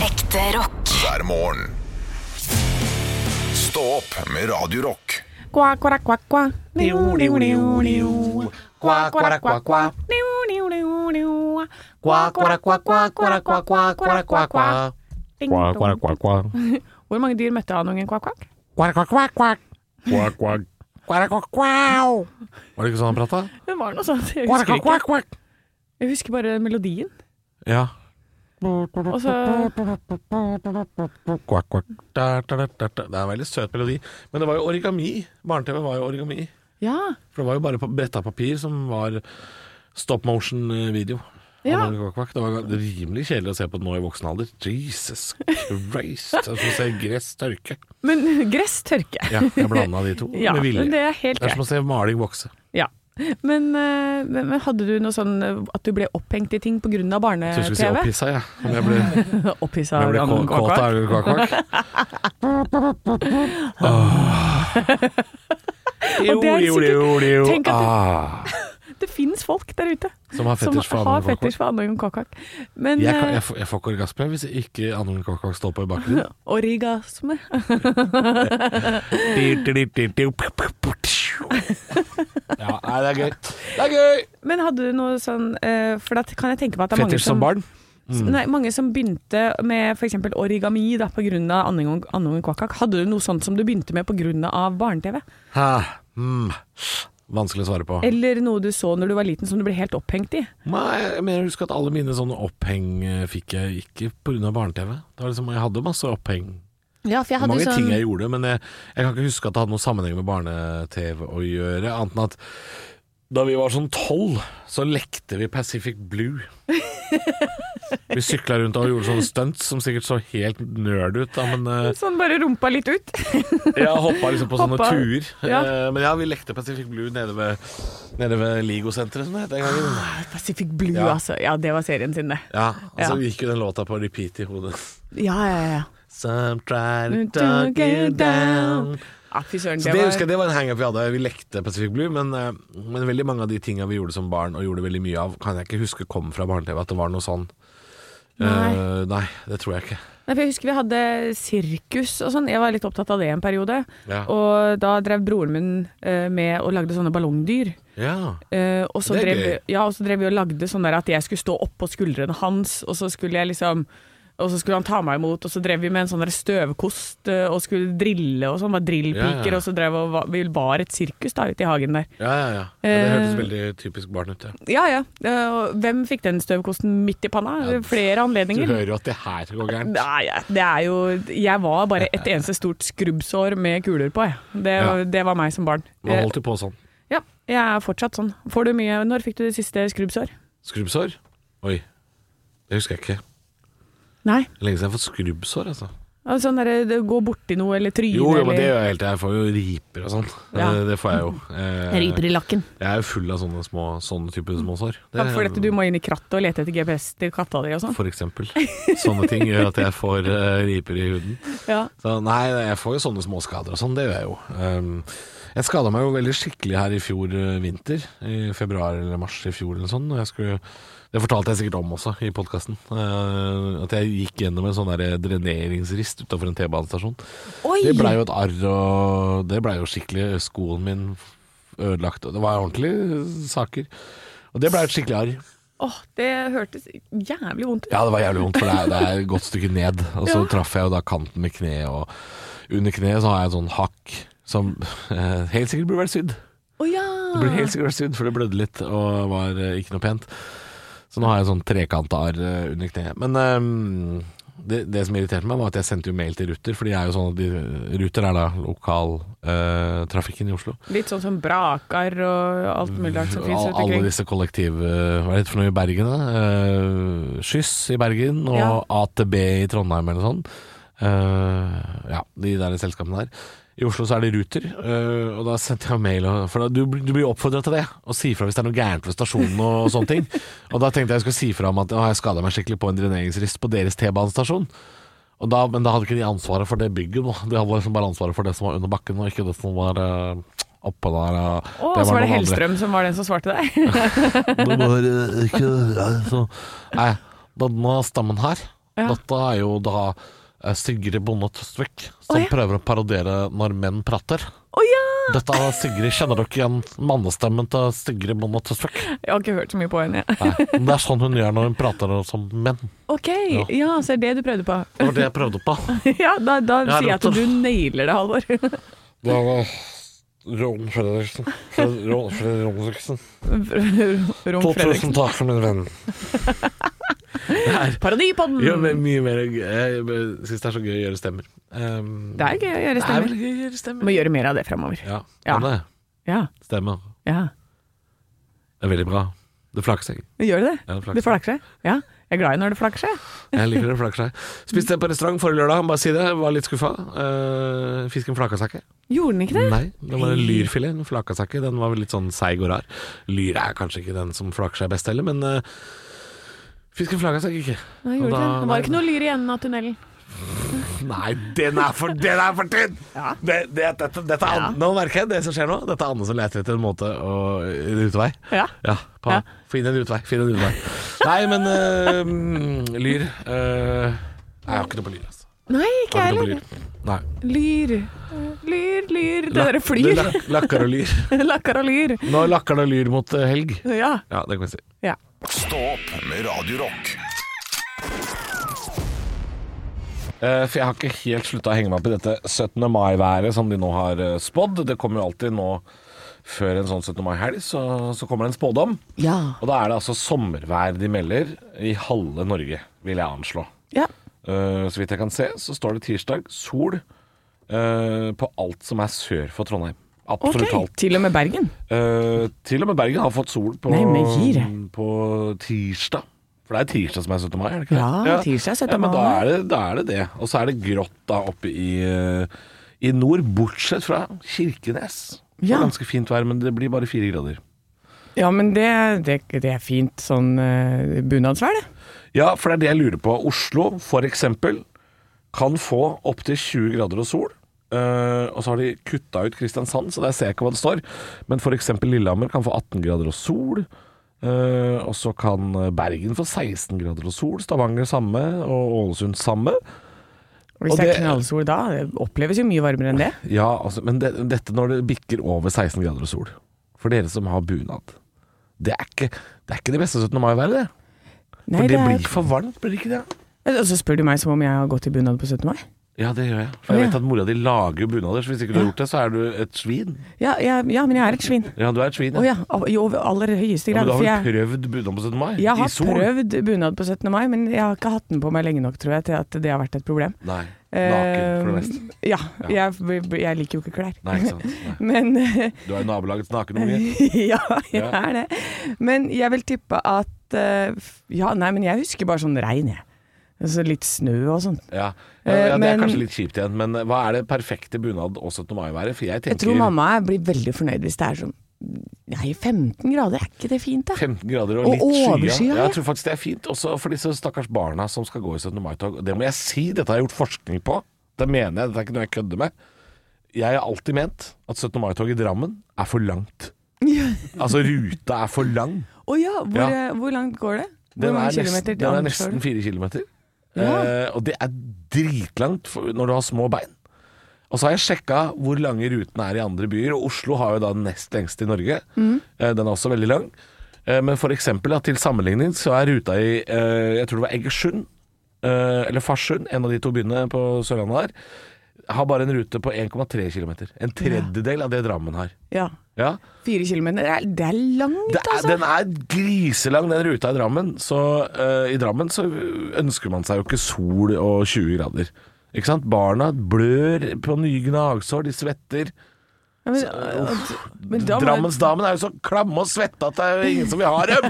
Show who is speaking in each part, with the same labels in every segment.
Speaker 1: Ekte rock.
Speaker 2: hver morgen. Stå opp med Radio Rock.
Speaker 3: Kva, kva, kva, kva.
Speaker 4: Niu, niu, niu, niu. Kva, kva, kva, kva.
Speaker 3: Niu, niu, niu, niu.
Speaker 4: Kva, kva, kva, kva, kva, kva, kva, kva, kva, kva.
Speaker 3: Ding,
Speaker 5: Quack,
Speaker 3: dong.
Speaker 5: quack, quack, quack.
Speaker 3: Hvor mange dyr møtte han ungen kvakk kvakk?
Speaker 4: Kva, kva, kva, kva.
Speaker 5: Quack, quack.
Speaker 4: Kva, kva, kva. Var det ikke sånn han prata?
Speaker 3: Det var noe sånt. Jeg
Speaker 4: Kva,
Speaker 3: husker
Speaker 4: kva, kva,
Speaker 3: ikke.
Speaker 4: kva.
Speaker 3: Jeg husker bare melodien.
Speaker 4: Ja.
Speaker 3: Og så
Speaker 4: Kva, kva, da, da, da, da, da. Det er en veldig søt melodi. Men det var jo origami. Barne-TV var jo origami.
Speaker 3: Ja.
Speaker 4: For det var jo bare pa- bretta papir som var stop motion-video.
Speaker 3: Ja.
Speaker 4: Det var rimelig kjedelig å se på nå i voksen alder. Jesus Christ! Det er som å se gress tørke.
Speaker 3: Men gress tørke.
Speaker 4: Ja, jeg blanda de to
Speaker 3: Ja,
Speaker 4: med vilje.
Speaker 3: men det er helt
Speaker 4: Det er som
Speaker 3: greit.
Speaker 4: å se maling vokse.
Speaker 3: Ja. Men, eh, men men hadde du noe sånn eh, at du ble opphengt i ting pga.
Speaker 4: Jeg skulle si
Speaker 3: barne-TV?
Speaker 4: opphissa, jeg. Om jeg ble,
Speaker 3: Opphissa
Speaker 4: om jeg ble
Speaker 3: av
Speaker 4: kå- kåt
Speaker 3: kvakk.
Speaker 4: av kvakk-kvakk.
Speaker 3: Og det er sikkert- tenk at det-
Speaker 4: ah,
Speaker 3: Det fins folk der ute
Speaker 4: som har
Speaker 3: som
Speaker 4: fetisj for
Speaker 3: har
Speaker 4: annen
Speaker 3: fetisj
Speaker 4: kvakk-kvakk.
Speaker 3: for annen kvakk. Men
Speaker 4: Jeg, kan-
Speaker 3: eh,
Speaker 4: jeg, får- jeg får ikke orgasme hvis ikke annen kvakk-kvakk står på i bakgrunnen.
Speaker 3: origasme
Speaker 4: Ja, nei, det er gøy. Det er gøy!
Speaker 3: Men hadde du noe sånn eh, For da kan jeg tenke meg at det er mange
Speaker 4: Fetisj
Speaker 3: som,
Speaker 4: som barn. Mm.
Speaker 3: Nei, mange som begynte med f.eks. origami da, pga. andungen kvakk. Hadde du noe sånt som du begynte med pga. barne-TV?
Speaker 4: Hæ? Mm. Vanskelig å svare på.
Speaker 3: Eller noe du så når du var liten som du ble helt opphengt i?
Speaker 4: Nei, jeg mener, husker at alle mine sånne oppheng eh, fikk jeg ikke pga. barne-TV. Det var liksom, jeg hadde masse oppheng.
Speaker 3: Ja, for jeg sånn-
Speaker 4: Det var mange ting jeg gjorde, men jeg, jeg kan ikke huske at det hadde noen sammenheng med barne-TV å gjøre. Annet enn at da vi var sånn tolv, så lekte vi Pacific Blue. Vi sykla rundt og gjorde sånne stunts som sikkert så helt nerd ut, da, men eh,
Speaker 3: Sånn bare rumpa litt ut.
Speaker 4: jeg hoppa liksom på
Speaker 3: Hoppa.
Speaker 4: sånne turer.
Speaker 3: Ja.
Speaker 4: Eh, Men ja, vi lekte Pacific Blue nede ved, nede ved Ligosenteret, som det het den gangen.
Speaker 3: Pacific Blue,
Speaker 4: Ja.
Speaker 3: altså. Ja, det var serien sin, det.
Speaker 4: Ja, altså
Speaker 3: Ah. Ja.
Speaker 4: gikk jo den låta på repeat i hodet.
Speaker 3: Ja, ja, ja.
Speaker 4: Some try to
Speaker 3: Don't
Speaker 4: talk
Speaker 3: get
Speaker 4: you down.
Speaker 3: down. ja fy søren,
Speaker 4: Så det, husker jeg, det var en hangup vi hadde. Vi lekte Pacific Blue, men, eh, men veldig mange av de tinga vi gjorde som barn, og gjorde veldig mye av, kan jeg ikke huske kom fra barne-TV. At det var noe sånn. Eh,
Speaker 3: Nei.
Speaker 4: nei, det tror jeg ikke.
Speaker 3: Nei, for jeg husker vi hadde sirkus og sånn. Jeg var litt opptatt av det en periode.
Speaker 4: Ja.
Speaker 3: Og da drev broren min eh, med og lagde sånne ballongdyr.
Speaker 4: Ja.
Speaker 3: Eh, og, så
Speaker 4: Det er
Speaker 3: drev,
Speaker 4: gøy.
Speaker 3: ja, og så drev vi og lagde sånn der at jeg skulle stå oppå skuldrene hans, og så skulle jeg liksom og så skulle han ta meg imot, og så drev vi med en sånn der støvkost eh, og skulle drille og sånn. Var drillpiker,
Speaker 4: Ja, ja.
Speaker 3: og så drev og, var- vi var et sirkus da ute i hagen der.
Speaker 4: Ja, ja, ja. ja det hørtes
Speaker 3: Eh,
Speaker 4: veldig typisk barn ut. Ja.
Speaker 3: Ja ja. eh, og hvem fikk den støvkosten midt i panna?
Speaker 4: Ja,
Speaker 3: Flere
Speaker 4: Du
Speaker 3: anledninger.
Speaker 4: hører jo at det her går gærent.
Speaker 3: Nei, jeg- det er jo Jeg var bare et eneste stort skrubbsår med kuler på, jeg. Det,
Speaker 4: Ja.
Speaker 3: det var meg som barn. Eh,
Speaker 4: Man holdt jo på sånn.
Speaker 3: Ja, jeg er fortsatt sånn. Får du mye Når fikk du det siste skrubbsår?
Speaker 4: Skrubbsår? Oi. Det husker jeg ikke.
Speaker 3: Nei.
Speaker 4: Det er Lenge siden jeg har fått skrubbsår, altså.
Speaker 3: Altså, sånn derre det- gå borti noe eller tryne
Speaker 4: Jo, jo, men det
Speaker 3: eller
Speaker 4: gjør jeg helt. Jeg får jo riper og sånn.
Speaker 3: Ja.
Speaker 4: Eh, Det får jeg jo. Eh,
Speaker 3: Riper i lakken.
Speaker 4: Jeg er jo full av sånne, små, sånne type små sår.
Speaker 3: Ja, for dette du må inn i krattet og lete etter GPS til katta di og sånn.
Speaker 4: For eksempel. Sånne ting gjør at jeg får eh, riper i huden.
Speaker 3: Ja.
Speaker 4: Så nei, jeg får jo sånne småskader og sånn, det gjør jeg jo. Ehm, jeg skada meg jo veldig skikkelig her i fjor eh, vinter. I februar eller mars i fjor eller sånn. Og jeg skulle, det fortalte jeg sikkert om også i podkasten. at jeg gikk gjennom en sånn der dreneringsrist utafor en T-banestasjon.
Speaker 3: Oi!
Speaker 4: Det blei jo et arr, og det blei jo skikkelig eh, skoen min ødelagt. Og det var ordentlige eh, saker. Og det blei et skikkelig arr.
Speaker 3: Åh, det hørtes jævlig vondt ut.
Speaker 4: Ja, det var jævlig vondt, for det er, det er et godt stykke ned. Og så
Speaker 3: Ja.
Speaker 4: traff jeg jo da kanten med kneet, og under kneet så har jeg et sånn hakk som eh, helt sikkert burde vært sydd.
Speaker 3: Å ja!
Speaker 4: Det burde helt sikkert vært sydd, for det blødde litt og var eh, ikke noe pent. Så nå har jeg sånn trekanta arr eh, under kneet. Men ehm, det, det som irriterte meg, var at jeg sendte jo mail til Ruter, for de er jo sånn at de, Ruter er da lokaltrafikken i Oslo.
Speaker 3: Litt sånn som brakar og alt mulig rart som fins
Speaker 4: Al-
Speaker 3: rundt
Speaker 4: alle
Speaker 3: omkring.
Speaker 4: disse kollektiv... eh, Hva er det for noe i Bergen? da? Eh, skyss i Bergen og
Speaker 3: Ja.
Speaker 4: AtB i Trondheim eller noe sånt. Eh, ja, de der selskapene der. I Oslo så er det Ruter, eh, og da sendte jeg mail og- For da, du, blir- du blir oppfordra til det, å si fra hvis det er noe gærent ved stasjonen og sånne ting. Og da tenkte jeg jeg skulle si fra om at å, jeg skada meg skikkelig på en dreneringsrist på deres T-banestasjon. Og da, men da hadde ikke de ansvaret for det bygget. Da. De hadde liksom bare ansvaret for det som var under bakken, og ikke det som var eh, oppå der. og
Speaker 3: Å, så var det
Speaker 4: noen andre.
Speaker 3: Hellstrøm som var den som svarte deg.
Speaker 4: Det var eh, ikke altså, Nei, denne stammen her
Speaker 3: Ja.
Speaker 4: Dette er jo da eh, Sigrid Bonde Tusvik som
Speaker 3: Å, ja.
Speaker 4: prøver å parodiere når menn prater.
Speaker 3: Å ja!
Speaker 4: Dette er Sigrid, Kjenner dere igjen mannestemmen til Sigrid Bonde Tusvik?
Speaker 3: Jeg har ikke hørt så mye på henne. jeg.
Speaker 4: Nei, men Det er sånn hun gjør når hun prater som menn.
Speaker 3: OK, ja. så er det du prøvde på.
Speaker 4: Det var det jeg prøvde på.
Speaker 3: ja, da, da
Speaker 4: Ja,
Speaker 3: sier jeg at
Speaker 4: doktor.
Speaker 3: du nailer det, Halvor.
Speaker 4: Det var Ron Fredriksen. Ron Fredriksen.
Speaker 3: Rom Fredriksen.
Speaker 4: takk for min venn. Det er
Speaker 3: Parodi på den!
Speaker 4: jo mye mer gøy. Jeg syns det er så gøy å gjøre stemmer. Um,
Speaker 3: Det er gøy å gjøre
Speaker 4: det er
Speaker 3: stemmer.
Speaker 4: veldig gøy å gjøre
Speaker 3: Må
Speaker 4: stemmer.
Speaker 3: gjøre mer av det framomer.
Speaker 4: Ja,
Speaker 3: Ja.
Speaker 4: det er det.
Speaker 3: Ja.
Speaker 4: Stemme.
Speaker 3: ja.
Speaker 4: Det er veldig bra. Det flakker seg.
Speaker 3: Gjør det
Speaker 4: Ja, det
Speaker 3: det?
Speaker 4: flakker
Speaker 3: Det flakker seg? Ja. Jeg er glad i når det flakker seg.
Speaker 4: Jeg liker det flakker seg. Spiste på restaurant forrige lørdag, bare si det. Var litt skuffa. Eh, fisken flaka seg ikke.
Speaker 3: Gjorde den ikke det?
Speaker 4: Nei, det var en lyrfilet. Den flaka seg ikke. Den var litt sånn seig og rar. Lyr er kanskje ikke den som flaker seg best heller, men eh, fisken flaka seg ikke.
Speaker 3: Nei,
Speaker 4: Og
Speaker 3: gjorde ikke
Speaker 4: da-
Speaker 3: det. det
Speaker 4: nei,
Speaker 3: var ikke noe lyr igjen av tunnelen.
Speaker 4: Nei, den er for, den er for tynn! Det, det, dette, dette er, Anne- Nå merker jeg det som skjer nå. Dette er Anne som leter etter en måte å en utvei.
Speaker 3: Ja.
Speaker 4: Ja, pa,
Speaker 3: Ja.
Speaker 4: Finn en utvei. Finn en utvei. Nei, men eh, mm, lyr eh, Jeg har ikke noe på lyr, altså.
Speaker 3: Nei, ikke
Speaker 4: Har
Speaker 3: jeg
Speaker 4: ikke noe på
Speaker 3: heller.
Speaker 4: lyr. Nei.
Speaker 3: Lyr. Lyr, lyr. Det
Speaker 4: Lak-
Speaker 3: derre flyr.
Speaker 4: lak- Lakker og lyr.
Speaker 3: Lakker og lyr.
Speaker 4: Nå lakker det lyr mot eh, helg.
Speaker 3: Ja.
Speaker 4: Ja, det kan vi si.
Speaker 3: ja.
Speaker 2: Stå opp med Radio Rock.
Speaker 4: Eh, For jeg har ikke helt slutta å henge meg opp i dette 17. mai-været som de nå har eh, spådd. Det kommer jo alltid nå før en sånn 17. mai-helg, så, så kommer det en spådom.
Speaker 3: Ja.
Speaker 4: Og da er det altså sommervær de melder i halve Norge, vil jeg anslå.
Speaker 3: ja.
Speaker 4: Eh, så vidt jeg kan se, så står det tirsdag sol eh, på alt som er sør for Trondheim.
Speaker 3: Ok.
Speaker 4: Absolutt alt.
Speaker 3: Til og med Bergen.
Speaker 4: Eh, til og med Bergen har fått sol på,
Speaker 3: Nei, men gir.
Speaker 4: på tirsdag. For det er tirsdag som er 17. mai, er det ikke
Speaker 3: Ja,
Speaker 4: det?
Speaker 3: tirsdag er 17.
Speaker 4: Ja, men da
Speaker 3: mai.
Speaker 4: er, det, da er det det. Og så er det grått da oppe i, eh, i nord, bortsett fra Kirkenes. Det
Speaker 3: Ja.
Speaker 4: er ganske fint vær, men det blir bare fire grader.
Speaker 3: Ja, men det, det, det er fint sånn eh, bunadsvær, det.
Speaker 4: Ja, for det er det jeg lurer på. Oslo, for eksempel, kan få opptil 20 grader og sol. Eh, og så har de kutta ut Kristiansand, så der ser jeg ikke hva det står. Men f.eks. Lillehammer kan få 18 grader og sol. Eh, og så kan Bergen få 16 grader og sol. Stavanger samme, og Ålesund samme.
Speaker 3: Hvis
Speaker 4: Og
Speaker 3: det er
Speaker 4: det-
Speaker 3: knallsol da, det oppleves jo mye varmere enn det.
Speaker 4: Ja, altså, Men det, dette når det bikker over 16 grader og sol. For dere som har bunad. Det er ikke det, er ikke det beste 17. mai-været, det. For
Speaker 3: Nei,
Speaker 4: det,
Speaker 3: er-
Speaker 4: blir for varmt, blir det ikke det?
Speaker 3: Og så spør du meg som om jeg har gått i bunad på 17. mai.
Speaker 4: Ja, det gjør jeg. For jeg
Speaker 3: Ja.
Speaker 4: vet at mora di lager jo bunader, så hvis ikke du har gjort det, så er du et svin.
Speaker 3: Ja, ja, ja men jeg er et svin.
Speaker 4: Ja, du er et svin.
Speaker 3: Å ja, av- i over- aller høyeste
Speaker 4: Ja,
Speaker 3: grad.
Speaker 4: men du har
Speaker 3: for
Speaker 4: vel
Speaker 3: jeg,
Speaker 4: prøvd bunad på 17. mai?
Speaker 3: jeg
Speaker 4: I
Speaker 3: har
Speaker 4: sol?
Speaker 3: prøvd bunad på 17. mai, men jeg har ikke hatt den på meg lenge nok, tror jeg, til at det har vært et problem.
Speaker 4: Nei. Naken, for det meste.
Speaker 3: Eh, Ja. Jeg, jeg liker jo ikke klær.
Speaker 4: Nei, ikke sant. Nei.
Speaker 3: Men
Speaker 4: Du er nabolagets nakenunge.
Speaker 3: Eh, Ja, jeg
Speaker 4: Ja.
Speaker 3: er det. Men jeg vil tippe at eh, f- Ja, nei, men jeg husker bare sånn regn, jeg. Altså litt snø og sånt.
Speaker 4: Ja. Ja,
Speaker 3: Eh,
Speaker 4: ja, det er
Speaker 3: men-
Speaker 4: kanskje litt kjipt igjen, men hva er det perfekte bunad og 17. mai-været? For jeg tenker
Speaker 3: Jeg tror mamma blir veldig fornøyd hvis det er sånn Nei, 15 grader, er ikke det fint, da?
Speaker 4: 15 grader og
Speaker 3: Og
Speaker 4: litt skya.
Speaker 3: overskyet, ja.
Speaker 4: Jeg tror faktisk det er fint, også for disse stakkars barna som skal gå i 17. mai-tog. Det må jeg si, dette har jeg gjort forskning på. Det mener jeg, dette er ikke noe jeg kødder med. Jeg har alltid ment at 17. mai-toget i Drammen er for langt. Altså, ruta er for lang.
Speaker 3: Å ja, hvor,
Speaker 4: Ja.
Speaker 3: eh, hvor langt går det? Hvor
Speaker 4: Den
Speaker 3: mange
Speaker 4: er,
Speaker 3: kilometer
Speaker 4: nesten,
Speaker 3: til
Speaker 4: den er
Speaker 3: Ammerfjord?
Speaker 4: nesten fire kilometer.
Speaker 3: Ja.
Speaker 4: Eh, og det er dritlangt for, når du har små bein. Og så har jeg sjekka hvor lange rutene er i andre byer, og Oslo har jo da den nest lengste i Norge.
Speaker 3: Mm.
Speaker 4: Eh, den er også veldig lang. Eh, men for eksempel, ja, til sammenligning så er ruta i eh, jeg tror det var Egersund, eh, eller Farsund, en av de to byene på Sørlandet her, har bare en rute på 1,3 km. En tredjedel av det Drammen har.
Speaker 3: Ja.
Speaker 4: Ja.
Speaker 3: Fire kilometer, det er, det er langt,
Speaker 4: Det er,
Speaker 3: altså.
Speaker 4: den er griselang, den ruta i Drammen. Så eh, i Drammen så ønsker man seg jo ikke sol og 20 grader. Ikke sant? Barna blør på nye gnagsår, de svetter.
Speaker 3: Ja, men, men da må-
Speaker 4: Drammensdamen er jo så klamme og svette at det er jo ingen som vil ha dem!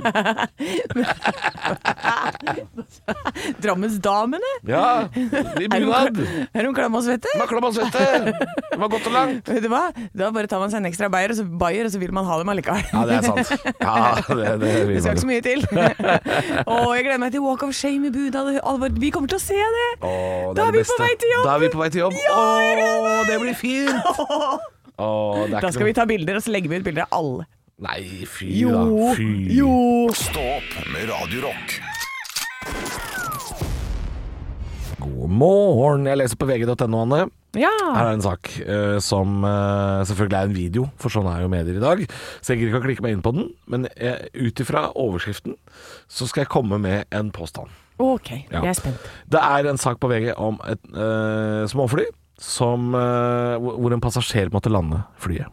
Speaker 3: Drammensdamene?
Speaker 4: Ja, I
Speaker 3: Er hun,
Speaker 4: bunad.
Speaker 3: kla- er hun klam og svette?
Speaker 4: De var klamme og svette. De var gått og langt.
Speaker 3: Vet du hva? Da bare tar man seg en ekstra bayer, og så, bayer, og så vil man ha dem allikevel.
Speaker 4: Ja, det er sant. Ja, det, det,
Speaker 3: Det
Speaker 4: vil
Speaker 3: skal
Speaker 4: man
Speaker 3: ikke så
Speaker 4: jo.
Speaker 3: mye til. Å, jeg gleder meg til Walk of Shame i Budad. Alvor, vi kommer til å se det!
Speaker 4: Å,
Speaker 3: Da er
Speaker 4: det
Speaker 3: vi på
Speaker 4: beste.
Speaker 3: vei til jobb.
Speaker 4: Da er vi på vei til jobb.
Speaker 3: Ja, jeg gleder
Speaker 4: Å, det blir fint! Å, det er
Speaker 3: Da
Speaker 4: ikke
Speaker 3: skal vi
Speaker 4: noe-
Speaker 3: ta bilder, og så legger vi ut bilder av alle.
Speaker 4: Nei, fy da.
Speaker 3: Jo,
Speaker 4: Fy.
Speaker 3: jo.
Speaker 2: Stå opp med Radio Rock.
Speaker 4: God morgen! Jeg leser på vg.no, Anne.
Speaker 3: Ja.
Speaker 4: Her er en sak eh, som eh, selvfølgelig er en video, for sånn er jo medier i dag. Så jeg gidder ikke å klikke meg inn på den, men eh, ut ifra overskriften så skal jeg komme med en påstand.
Speaker 3: Ok,
Speaker 4: Ja.
Speaker 3: jeg er spent.
Speaker 4: Det er en sak på VG om et eh, småfly som, eh, hvor hvor en passasjer måtte lande flyet.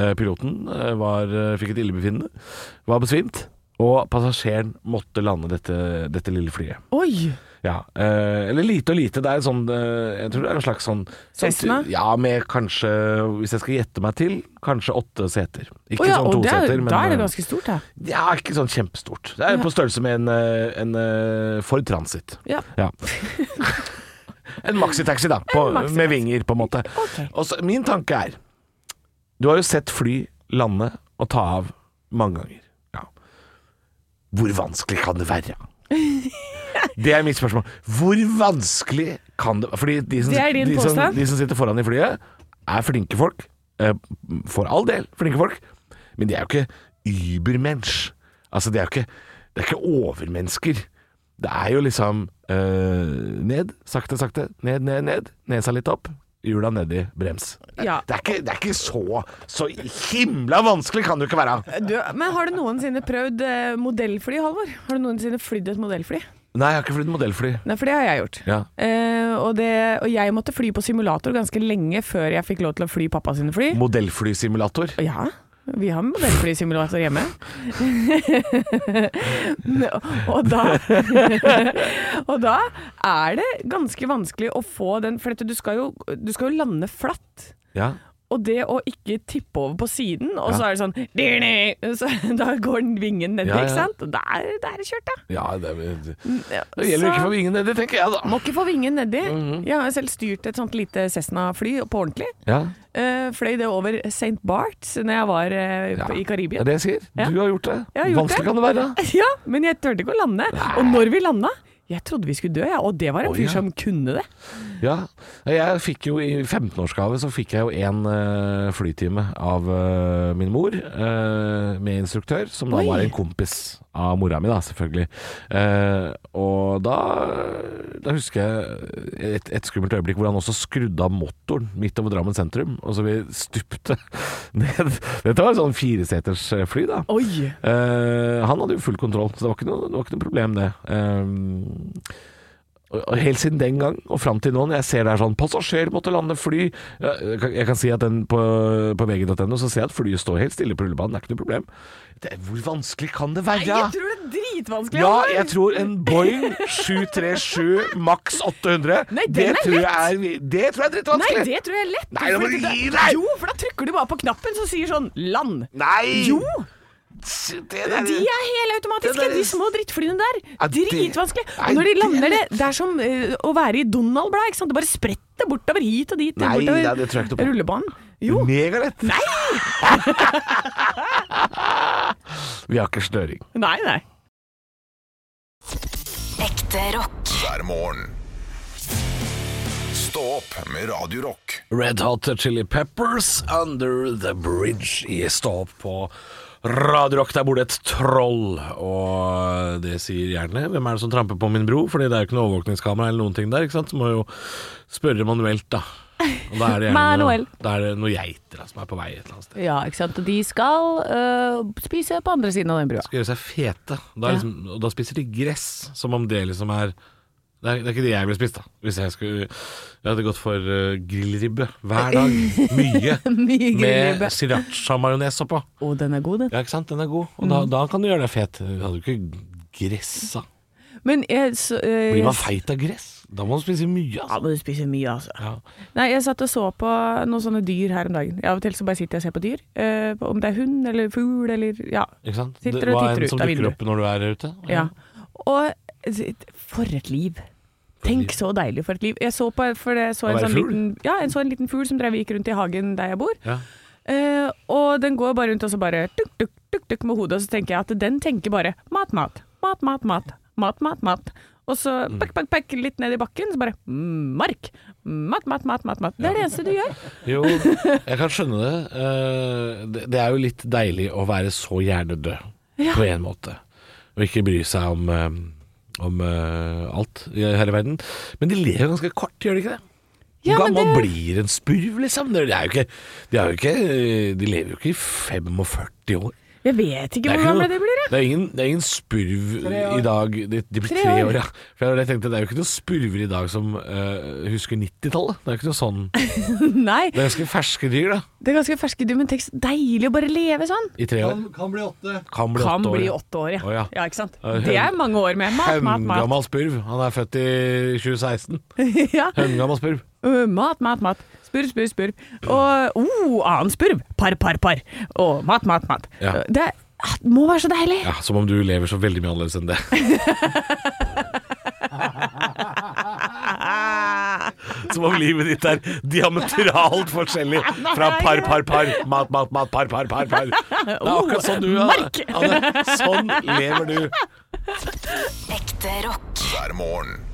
Speaker 4: Eh, piloten eh, var, eh, fikk et illebefinnende, var besvimt, og passasjeren måtte lande dette, dette lille flyet.
Speaker 3: Oi!
Speaker 4: Ja, eh, eller lite og lite. Det er en sånn eh, Jeg tror det er en slags sånn sånn-
Speaker 3: Cessna?
Speaker 4: Ja, med kanskje, hvis jeg skal gjette meg til, kanskje åtte seter. Ikke
Speaker 3: Å ja,
Speaker 4: sånn
Speaker 3: og
Speaker 4: to
Speaker 3: det er,
Speaker 4: seter, men
Speaker 3: da er det
Speaker 4: eh,
Speaker 3: ganske stort, da.
Speaker 4: Ja, ikke sånn kjempestort. Det er
Speaker 3: Ja.
Speaker 4: på størrelse med en, eh, en eh, Ford Transit.
Speaker 3: Ja.
Speaker 4: Ja. en maxitaxi, da. På,
Speaker 3: maxitaxi.
Speaker 4: med vinger, på en måte.
Speaker 3: Ok.
Speaker 4: Og så, min tanke er Du har jo sett fly lande og ta av mange ganger. Ja. Hvor vanskelig kan det være? Det er mitt spørsmål. Hvor vanskelig kan det Fordi de som,
Speaker 3: Det er din
Speaker 4: de som,
Speaker 3: påstand.
Speaker 4: de som sitter foran i flyet, er flinke folk. Eh, For all del flinke folk. Men de er jo ikke übermensch. Altså, det er jo ikke, det er ikke overmennesker. Det er jo liksom eh, ned, sakte, sakte, ned, ned, ned. Nesa litt opp, hjula nedi, brems.
Speaker 3: Ja.
Speaker 4: Det er ikke, det er ikke så, så himla vanskelig kan det jo ikke være.
Speaker 3: Du, men har du noensinne prøvd eh, modellfly, Halvor? Har du noensinne flydd et modellfly?
Speaker 4: Nei, jeg har ikke flydd modellfly.
Speaker 3: Nei, for det har jeg gjort.
Speaker 4: Ja.
Speaker 3: Eh, og, det, og jeg måtte fly på simulator ganske lenge før jeg fikk lov til å fly pappa sine fly.
Speaker 4: Modellflysimulator.
Speaker 3: Ja, vi har modellflysimulator hjemme. og, da, og da er det ganske vanskelig å få den For dette, du, skal jo, du skal jo lande flatt.
Speaker 4: Ja.
Speaker 3: Og det å ikke tippe over på siden, og så er det sånn «Dirni!» så, Da går den vingen nedi,
Speaker 4: Ja, ja.
Speaker 3: ikke sant? Og der, der er det kjørt, da.
Speaker 4: ja det, det,
Speaker 3: Ja,
Speaker 4: det
Speaker 3: så-
Speaker 4: gjelder ikke for Mhm. vingen nedi, tenker jeg da.
Speaker 3: Må ikke få vingen nedi. Jeg har jo selv styrt et sånt lite Cessna-fly på ordentlig.
Speaker 4: Ja,
Speaker 3: Eh, fløy det over St. Barts når jeg var eh,
Speaker 4: Ja.
Speaker 3: på- i
Speaker 4: det
Speaker 3: Karibia.
Speaker 4: er det jeg sier.
Speaker 3: Ja.
Speaker 4: Du har gjort det.
Speaker 3: Jeg har gjort
Speaker 4: vanskelig
Speaker 3: det.
Speaker 4: kan det være.
Speaker 3: Ja, men jeg turte ikke å lande. Og når vi landa Jeg trodde vi skulle dø, jeg. Og det var en
Speaker 4: Å,
Speaker 3: fyr
Speaker 4: ja.
Speaker 3: som kunne det.
Speaker 4: Ja, jeg fikk jo i 15-årsgave så fikk jeg jo en eh, flytime av eh, min mor eh, med instruktør, som da
Speaker 3: Oi.
Speaker 4: var en kompis av mora mi da, selvfølgelig. Eh, og da, da husker jeg et, et skummelt øyeblikk hvor han også skrudde av motoren midt over Drammen sentrum, og så vi stupte ned. Dette var en sånn fireseters eh, fly da.
Speaker 3: Oi!
Speaker 4: Eh, han hadde jo full kontroll, så det var ikke noe, det var ikke noe problem, det. Eh, og- og helt siden den gang og fram til nå, når jeg ser det er sånn 'Passasjer måtte lande fly' Jeg kan, jeg kan si at den på, på vg.no så ser jeg at flyet står helt stille på rullebanen, det er ikke noe problem. Det, hvor vanskelig kan det være?
Speaker 3: tror det er dritvanskelig.
Speaker 4: Ja, jeg tror en Boeing 737 maks 800
Speaker 3: Nei, den
Speaker 4: det,
Speaker 3: er
Speaker 4: tror jeg er, det tror
Speaker 3: Nei,
Speaker 4: jeg er drittvanskelig.
Speaker 3: det tror jeg er lett.
Speaker 4: Nei, nå må
Speaker 3: Fordi
Speaker 4: du
Speaker 3: det-
Speaker 4: gi deg!
Speaker 3: Jo, for da trykker du bare på knappen som sier sånn 'land'.
Speaker 4: Nei!
Speaker 3: Jo!
Speaker 4: Det der-
Speaker 3: De er helautomatiske,
Speaker 4: Det der-
Speaker 3: de små drittflyene
Speaker 4: Ja,
Speaker 3: der.
Speaker 4: det-
Speaker 3: Dritvanskelig.
Speaker 4: Nei,
Speaker 3: Og når de
Speaker 4: det er
Speaker 3: lander det Det er som eh, å være i Donald-bladet, ikke sant. Det bare spretter bortover hit og dit.
Speaker 4: Nei,
Speaker 3: bortover
Speaker 4: nei, det tror jeg ikke noe på.
Speaker 3: Rullebanen. Jo.
Speaker 4: Megalett. Nei! Vi har ikke snøring.
Speaker 3: Nei, nei.
Speaker 1: Ekte rock.
Speaker 2: hver morgen. Stå opp med Radio Rock.
Speaker 4: Red Hot Chili Peppers Under The Bridge i Stå opp på Radio Rock. Der bor det et troll, og det sier gjerne Hvem er det som tramper på min bro? Fordi det er jo ikke noe overvåkningskamera eller noen ting der, ikke sant? Så må jeg jo spørre manuelt, da. Og da er det
Speaker 5: Manuel.
Speaker 4: noe, da er det noen geiter da, som er på vei et eller annet sted.
Speaker 5: Ja, ikke sant. Og de skal øh, spise på andre siden av den brua.
Speaker 4: skal gjøre seg fete. Da er liksom, Og da spiser de gress, som om det liksom er det er, det er ikke det jeg ville spist, da. Hvis jeg skulle Jeg hadde gått for eh, grillribbe hver dag. Mye.
Speaker 5: Mye
Speaker 4: Med
Speaker 5: grillribbe.
Speaker 4: sriracha-majones oppå.
Speaker 3: Å, den er god, den.
Speaker 4: Ja, ikke sant? Den er god. Og da, da kan du gjøre deg fet. Du hadde jo ikke gressa.
Speaker 5: Men jeg så, øh,
Speaker 4: Blir man feit av gress? Da må du spise mye,
Speaker 3: Ja,
Speaker 4: altså.
Speaker 3: men du spiser mye, altså.
Speaker 4: Ja.
Speaker 3: Nei, jeg satt og så på noen sånne dyr her om dagen. Av og til så bare sitter jeg og ser på dyr. Eh, om det er hund eller fugl eller ja.
Speaker 4: Ikke sant?
Speaker 3: Sitter
Speaker 4: Det-
Speaker 3: og
Speaker 4: hva er
Speaker 3: titter
Speaker 4: en
Speaker 3: ut
Speaker 4: som
Speaker 3: av
Speaker 4: dukker
Speaker 3: vinduet.
Speaker 4: opp når du er ute?
Speaker 3: ja. Og for et liv. Tenk så deilig for et liv. Jeg så på for jeg så
Speaker 4: Å
Speaker 3: en
Speaker 4: være
Speaker 3: sånn
Speaker 4: fugl?
Speaker 3: liten, ja, jeg så en liten fugl som drev gikk rundt i hagen der jeg bor.
Speaker 4: Ja.
Speaker 3: Eh, og den går bare rundt og så bare tuk, tuk, tuk, tuk med hodet, og så tenker jeg at den tenker bare mat, mat, mat, mat, mat, mat, mat, mat. Og så pakk, pakk, pakk litt ned i bakken, så bare mm, mark. Mat, mat, mat, mat, mat. Det er det eneste du gjør.
Speaker 4: Jo, jeg kan skjønne det. Eh, det. Det er jo litt deilig å være så hjernedød på en måte. Og ikke bry seg om, eh, om eh, alt i hele verden. Men de lever ganske kort, gjør de ikke det? Hvor
Speaker 3: Ja, men
Speaker 4: gammel
Speaker 3: det-
Speaker 4: blir en spurv, liksom? Det er jo ikke, de, er jo ikke, de lever jo ikke i 45 år.
Speaker 3: Jeg vet ikke hvor
Speaker 4: ikke
Speaker 3: gamle
Speaker 4: noe-
Speaker 3: de blir, jeg.
Speaker 4: det er ingen, det er ingen spurv i dag De, de blir tre,
Speaker 3: Tre år.
Speaker 4: år, ja. For jeg tenkte, det er jo ikke noen spurver i dag som eh, husker 90-tallet. Det er jo ikke noe sånn Det
Speaker 3: Nei,
Speaker 4: er ganske ferske dyr, da.
Speaker 3: det er ganske ferske dyr, men tenk så deilig å bare leve sånn.
Speaker 4: I tre år.
Speaker 1: Kan, kan bli åtte.
Speaker 4: Kan bli
Speaker 3: Kan
Speaker 4: åtte år.
Speaker 3: bli
Speaker 4: ja.
Speaker 3: åtte år, ja.
Speaker 4: Å, ja.
Speaker 3: ja. Ikke sant.
Speaker 4: Ja,
Speaker 3: Det er
Speaker 4: hø-
Speaker 3: mange år med mat, mat, mat.
Speaker 4: Høngammal spurv. Han er født i 2016.
Speaker 3: ja.
Speaker 4: Høngammal spurv.
Speaker 3: Øh, mat, mat, mat. Spurv, spurv, spurv. Og oh, annen spurv. Par, par, par. Og mat, mat, mat. Øh,
Speaker 4: Ja.
Speaker 3: Det er- ah, må være så deilig.
Speaker 4: Ja, Som om du lever så veldig mye annerledes enn det. Som om livet ditt er diametralt forskjellig fra par, par, par, mat, mat, mat, par, par, par. par. Det er akkurat sånn du er.
Speaker 3: Merk!
Speaker 4: Anne. Sånn lever du.
Speaker 6: Ekte rock.
Speaker 2: hver morgen.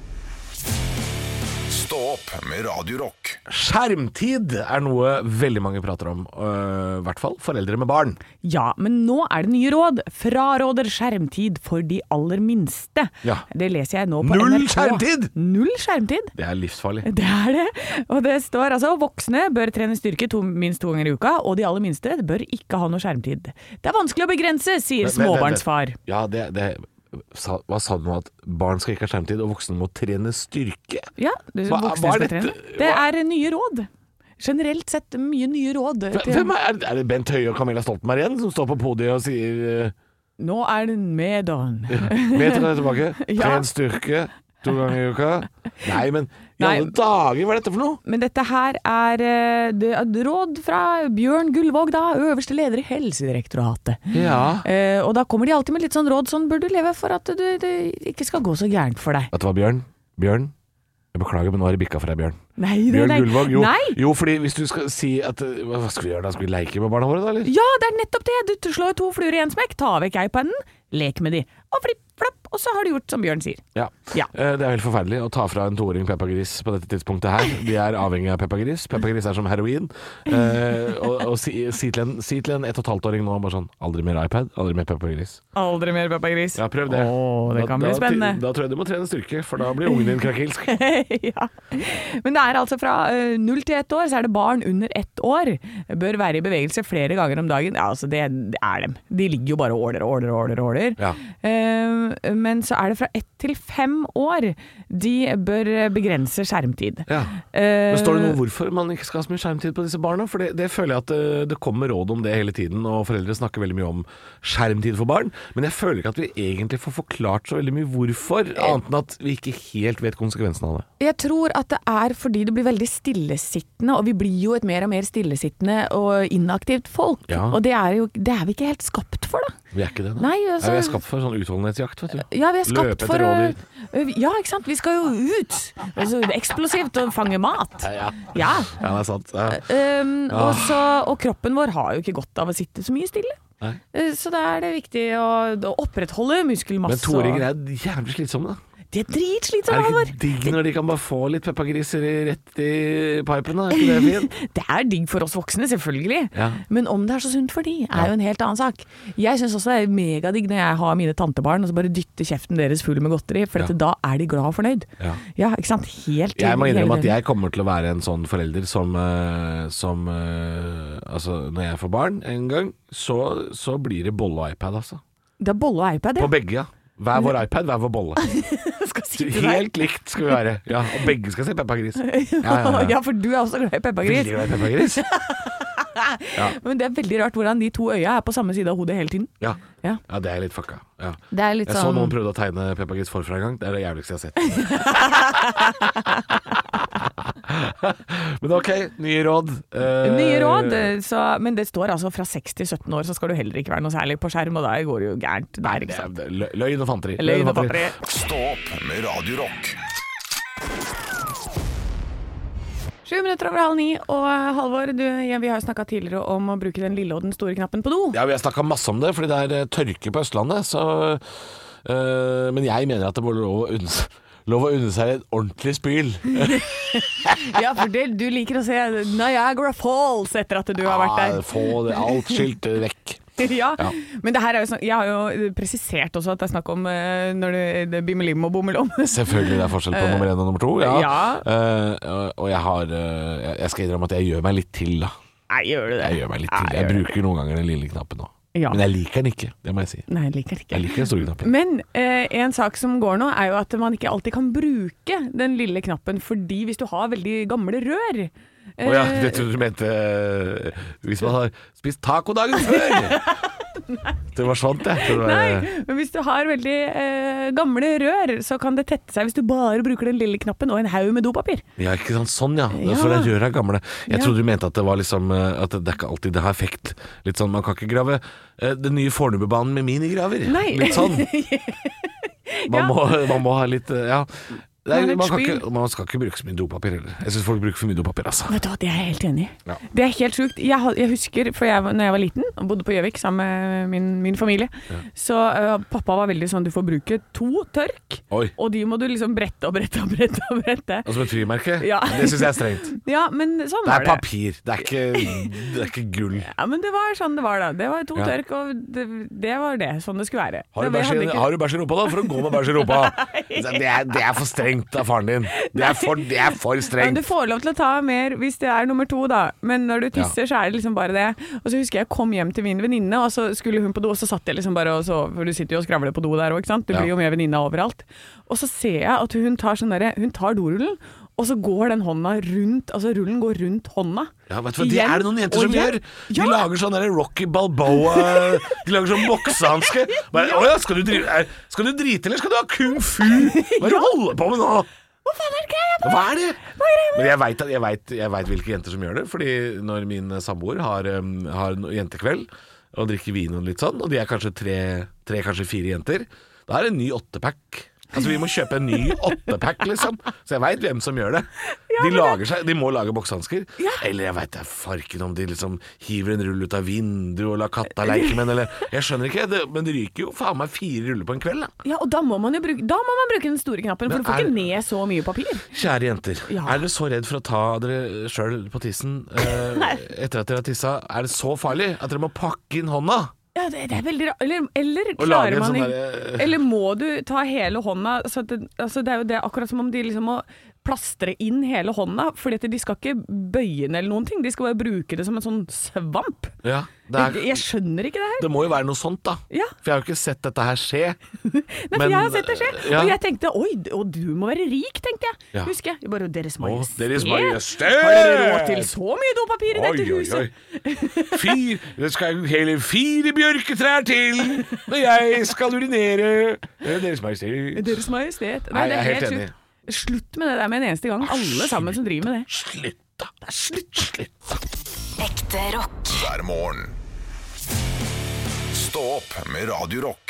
Speaker 2: Stå opp med Radio Rock.
Speaker 4: Skjermtid er noe veldig mange prater om. øh, I hvert fall foreldre med barn.
Speaker 3: Ja, men nå er det nye råd. Fraråder skjermtid for de aller minste.
Speaker 4: Ja.
Speaker 3: Det leser jeg nå på
Speaker 4: Null
Speaker 3: NRK.
Speaker 4: skjermtid!
Speaker 3: Null skjermtid.
Speaker 4: Det er livsfarlig.
Speaker 3: Det er det. Og det står altså voksne bør trene styrke to, minst to ganger i uka, og de aller minste bør ikke ha noe skjermtid. Det er vanskelig å begrense, sier
Speaker 4: Vent, vent, vent, vent.
Speaker 3: småbarnsfar.
Speaker 4: Ja, det, det sa, Hva sa du nå? At barn skal ikke ha skjermtid, og voksne må trene styrke?
Speaker 3: Ja, du,
Speaker 4: Hva-
Speaker 3: voksne
Speaker 4: hva er
Speaker 3: skal
Speaker 4: dette?
Speaker 3: trene. Det
Speaker 4: Hva-
Speaker 3: er nye råd. Generelt sett mye nye råd.
Speaker 4: Hvem-
Speaker 3: Til,
Speaker 4: Hvem er, er det Bent Høie og Camilla Stoltenberg igjen som står på podiet og sier eh,
Speaker 3: nå er det medon.
Speaker 4: Vet dere det tilbake?
Speaker 3: Ja.
Speaker 4: Tren styrke to ganger i uka. Nei, men i
Speaker 3: Nei.
Speaker 4: alle dager, hva er dette for noe?
Speaker 3: Men dette her er eh, det er råd fra Bjørn Gullvåg, da, øverste leder i Helsedirektoratet.
Speaker 4: Ja.
Speaker 3: Eh, og da kommer de alltid med litt sånn råd sånn bør du leve for at du, det ikke skal gå så gærent for deg.
Speaker 4: Vet du hva, Bjørn? Bjørn? Jeg beklager, men nå er det bikka for deg, Bjørn.
Speaker 3: Nei, det
Speaker 4: Bjørn
Speaker 3: nei.
Speaker 4: Gullvåg, jo.
Speaker 3: Nei!
Speaker 4: jo, fordi hvis du skal si at eh, Hva skal vi gjøre da? Skal vi leike med barna våre, da, eller?
Speaker 3: Ja, det er nettopp det! Du slår to fluer i én smekk. Ta vekk iPaden, lek med de, og flipp, flapp, og så har du gjort som Bjørn sier.
Speaker 4: Ja.
Speaker 3: Ja.
Speaker 4: Eh, Det er helt forferdelig å ta fra en toåring Peppa Gris på dette tidspunktet her. De er avhengig av Peppa Gris. Peppa Gris er som heroin. Eh, og og si, si til en, si til en ett og et halvt åring nå bare sånn Aldri mer iPad, aldri mer Peppa Gris.
Speaker 3: Aldri mer Peppa Gris.
Speaker 4: Ja, prøv det.
Speaker 3: Åh, det kan
Speaker 4: da,
Speaker 3: bli
Speaker 4: da-
Speaker 3: spennende.
Speaker 4: Da tror jeg du må trene styrke, for da blir ungen din krakilsk.
Speaker 3: ja. Men det er altså fra eh, null til ett år, så er det barn under ett år. Bør være i bevegelse flere ganger om dagen. Ja, altså det, det er dem. De ligger jo bare og åler og åler og åler. og åler.
Speaker 4: Ja.
Speaker 3: Eh, men så er det fra ett til fem år. De bør eh, begrense skjermtid.
Speaker 4: Ja.
Speaker 3: Eh,
Speaker 4: Men Står det noe om hvorfor man ikke skal ha så mye skjermtid på disse barna? For det, det føler jeg at eh, det kommer råd om det hele tiden, og foreldre snakker veldig mye om skjermtid for barn. Men jeg føler ikke at vi egentlig får forklart så veldig mye hvorfor, annet enn at vi ikke helt vet konsekvensen av det.
Speaker 3: Jeg tror at det er fordi det blir veldig stillesittende, og vi blir jo et mer og mer stillesittende og inaktivt folk.
Speaker 4: Ja.
Speaker 3: Og det er, jo, det er vi ikke helt skapt for, da.
Speaker 4: Vi er ikke det, da.
Speaker 3: Nei,
Speaker 4: Nei,
Speaker 3: altså-
Speaker 4: vi er skapt for sånn utholdenhetsjakt, vet du.
Speaker 3: Ja, vi er skapt
Speaker 4: Løpe etter
Speaker 3: for å
Speaker 4: rådyr.
Speaker 3: Ja, ikke sant. Vi skal jo ut. Altså, det er eksplosivt å fange mat.
Speaker 4: Ja, Eh,
Speaker 3: Ja.
Speaker 4: ja det er sant. Ja.
Speaker 3: Ehm,
Speaker 4: Ah.
Speaker 3: og, så, og kroppen vår har jo ikke godt av å sitte så mye stille.
Speaker 4: Nei.
Speaker 3: Eh, Så da er det viktig å, å opprettholde muskelmasse.
Speaker 4: Men toåringer
Speaker 3: og-
Speaker 4: er jævlig slitsomme, da.
Speaker 3: De er
Speaker 4: Er
Speaker 3: dritslitsomme,
Speaker 4: det
Speaker 3: Halvor.
Speaker 4: ikke digg når de kan bare få litt peppergriser i- rett i pipen? da? Er ikke det fint?
Speaker 3: Det er digg for oss voksne, selvfølgelig.
Speaker 4: Ja.
Speaker 3: Men om det er så sunt for de, er jo en helt annen sak. Jeg syns også det er megadigg når jeg har mine tantebarn og så bare dytter kjeften deres full med godteri, for at da er de glad og fornøyd.
Speaker 4: Ja.
Speaker 3: ikke sant. Helt
Speaker 4: Jeg må
Speaker 3: hele
Speaker 4: innrømme
Speaker 3: døgnet.
Speaker 4: at jeg kommer til å være en sånn forelder som, eh, som eh, Altså, når jeg får barn en gang, så, så blir det bolle og iPad, altså.
Speaker 3: Det er bolle og iPad,
Speaker 4: På
Speaker 3: ja.
Speaker 4: begge, ja. Hver vår iPad, hver vår bolle.
Speaker 3: Skal sitte der.
Speaker 4: Helt likt skal vi være. Ja, og begge skal se Peppa Gris. Ja,
Speaker 3: Ja,
Speaker 4: ja, ja.
Speaker 3: for du er også glad i peppergris.
Speaker 4: Veldig glad i Peppa Gris.
Speaker 3: Men det er veldig rart hvordan de to øya er på samme side av hodet hele tiden.
Speaker 4: Ja.
Speaker 3: Ja.
Speaker 4: ja, det er litt fucka. Ja.
Speaker 5: Det er litt
Speaker 4: Jeg så
Speaker 5: sånn
Speaker 4: noen prøvde å tegne Peppa Gris forfra en gang. Det er det jævligste jeg har sett. Men ok, nye råd. Eh,
Speaker 3: Nye råd, eh, så, men det står altså fra 6 til 17 år så skal du heller ikke være noe særlig på skjerm, og da går det jo gærent der, ikke sant.
Speaker 4: det er lø- Løgn og fanteri.
Speaker 3: Løgn og batteri.
Speaker 2: Stå opp med Radio Rock
Speaker 3: Sju minutter over halv ni, og eh, Halvor, du, ja, vi har jo snakka tidligere om å bruke den lille og den store knappen på do.
Speaker 4: Ja, vi har snakka masse om det, fordi det er eh, tørke på Østlandet. Så, eh, men jeg mener at det burde lov å unne seg Lov å unne seg et ordentlig spyl.
Speaker 3: Ja, for det, du liker å se Niagara Falls etter at du har vært
Speaker 4: Ja,
Speaker 3: der.
Speaker 4: få Ah, det, alt skiltet vekk.
Speaker 3: ja.
Speaker 4: Ja.
Speaker 3: Men det her er jo sånn, jeg har jo presisert også at det er snakk om eh, når det, det bimmelim og bommelom.
Speaker 4: Selvfølgelig det er forskjell på nummer én og nummer to. Ja.
Speaker 3: Eh, ja.
Speaker 4: Eh, og- og jeg har eh, jeg- Jeg skal innrømme at jeg gjør meg litt til, da.
Speaker 3: Nei, gjør du det?
Speaker 4: Jeg gjør meg litt til.
Speaker 3: Nei,
Speaker 4: Jeg
Speaker 3: gjør du det?
Speaker 4: bruker noen ganger den lille knappen nå.
Speaker 3: Ja.
Speaker 4: Men jeg liker den ikke, det må jeg si.
Speaker 3: Nei, jeg liker det ikke.
Speaker 4: Jeg liker den store knappen.
Speaker 3: Men eh, en sak som går nå, er jo at man ikke alltid kan bruke den lille knappen, fordi hvis du har veldig gamle rør eh,
Speaker 4: Å ja, det trodde du mente eh, hvis man har spist taco dagen før. det var sånt, jeg. Det var, eh,
Speaker 3: Nei, men hvis du har veldig eh, gamle rør, så kan det tette seg hvis du bare bruker den lille knappen og en haug med dopapir.
Speaker 4: Ja, ikke sant. Sånn, ja.
Speaker 3: Ja.
Speaker 4: For det er røra gamle. Jeg
Speaker 3: Ja.
Speaker 4: trodde du mente at det var liksom eh, At det er ikke alltid det har effekt. Litt sånn, man kan ikke grave eh, den nye Fornebubanen med minigraver.
Speaker 3: Nei.
Speaker 4: Litt sånn. Man,
Speaker 3: Ja.
Speaker 4: må, man må ha litt eh, Ja. Nei,
Speaker 3: Man har litt
Speaker 4: man, kan
Speaker 3: spyl.
Speaker 4: ikke, man skal ikke bruke så mye dopapir heller. Jeg syns folk bruker for mye dopapir, altså.
Speaker 3: Vet du hva, Det er jeg helt enig i.
Speaker 4: Ja.
Speaker 3: Det er helt sjukt. Jeg, had- jeg husker for jeg, var- når jeg var liten og bodde på Gjøvik sammen med min, min familie, så øh, pappa var veldig sånn du får bruke to tørk,
Speaker 4: Oi. Altså,
Speaker 3: og de må du liksom brette og brette og brette. og brette.
Speaker 4: Og som et frimerke.
Speaker 3: Ja.
Speaker 4: Det syns jeg er strengt.
Speaker 3: Ja, men sånn
Speaker 4: Det
Speaker 3: var
Speaker 4: er
Speaker 3: det.
Speaker 4: papir, det er ikke, det er ikke gull.
Speaker 3: Ja, men det var sånn det var da. Det var to
Speaker 4: Ja.
Speaker 3: tørk, og det, det var det. Sånn det skulle være.
Speaker 4: Har du
Speaker 3: Det- jeg
Speaker 4: bæsj i-
Speaker 3: hadde ikke-
Speaker 4: har du bæsj i rumpa, da? For å gå med bæsj i rumpa. Det er, det er for strengt av faren din. Det er for, det er for
Speaker 3: Ja, men
Speaker 4: strengt.
Speaker 3: du får lov til å ta mer hvis det er nummer to, da. Men når du tisser, så er det liksom bare det. Og så husker jeg jeg kom hjem til min venninne, og så skulle hun på do, og så satt jeg liksom bare og så For du sitter jo og skravler på do der òg, ikke sant. Du
Speaker 4: Ja.
Speaker 3: blir jo med venninna overalt. Og så ser jeg at hun tar sånn derre Hun tar dorullen. Og så går den hånda rundt, altså rullen går rundt hånda.
Speaker 4: Ja, vet du hva, Det
Speaker 3: Igjen
Speaker 4: er det noen jenter
Speaker 3: og
Speaker 4: som
Speaker 3: igjen.
Speaker 4: gjør. De
Speaker 3: Ja.
Speaker 4: lager sånn der Rocky Balboa De lager sånn boksehanske. Bare, Å ja, skal du, drive, er, skal du drite, eller skal du ha kung fu? Hva er det du holder på med nå?
Speaker 3: Hva faen er greia med det?
Speaker 4: Hva er det? Men jeg veit jeg vet, jeg vet hvilke jenter som gjør det. Fordi når min eh, samboer har, um, har en jentekveld og drikker vin og litt sånn, og de er kanskje tre, tre kanskje fire jenter, da er det en ny åttepack. Altså Vi må kjøpe en ny åttepack, liksom. Så jeg veit hvem som gjør det. De lager seg, de må lage boksehansker. Eller jeg veit da farken om de liksom hiver en rull ut av vinduet og lar katta leke med den, eller Jeg skjønner ikke, det, men det ryker jo faen meg fire ruller på en kveld, da.
Speaker 3: Ja, og da må man jo bruke, da må man bruke den store knappen, for
Speaker 4: Men
Speaker 3: du får
Speaker 4: er-
Speaker 3: ikke ned så mye papir.
Speaker 4: Kjære jenter,
Speaker 3: Ja.
Speaker 4: er dere så redd for å ta dere sjøl på tissen eh, etter at dere har tissa? Er det så farlig at dere må pakke inn hånda?
Speaker 3: Ja, det, det er veldig rart. Eller, eller
Speaker 4: Og lage
Speaker 3: klarer
Speaker 4: en
Speaker 3: man
Speaker 4: sånn
Speaker 3: ikke
Speaker 4: derre-
Speaker 3: Eller må du ta hele hånda så at det, altså det er jo det akkurat som om de liksom må plastre inn hele hånda, fordi at de skal ikke bøye den eller noen ting. De skal bare bruke det som en sånn svamp.
Speaker 4: Ja, det,
Speaker 3: Jeg,
Speaker 4: er,
Speaker 3: jeg skjønner ikke det her.
Speaker 4: det må jo være noe sånt, da.
Speaker 3: Ja.
Speaker 4: For jeg har jo ikke sett dette her skje.
Speaker 3: Nei, for
Speaker 4: men,
Speaker 3: jeg har sett det skje.
Speaker 4: ja.
Speaker 3: Og jeg tenkte oi, d- og du må være rik, tenkte jeg.
Speaker 4: Ja.
Speaker 3: Husker jeg. jeg. Bare Deres Majestet.
Speaker 4: Deres Majestet!
Speaker 3: Har dere råd til så mye dopapir i dette huset?
Speaker 4: Fire, det skal hele fire bjørketrær til når jeg skal urinere. Eh, Deres Majestet.
Speaker 3: Deres Majestet.
Speaker 4: Nei,
Speaker 3: det
Speaker 4: jeg er helt enig. Ah,
Speaker 3: sjukt. Slutt med det der med en eneste gang. Alle sammen som driver med det.
Speaker 4: Slutt, da. Slutt, slutt.
Speaker 6: Ekte rock.
Speaker 2: hver morgen. Stå opp med Radio Rock.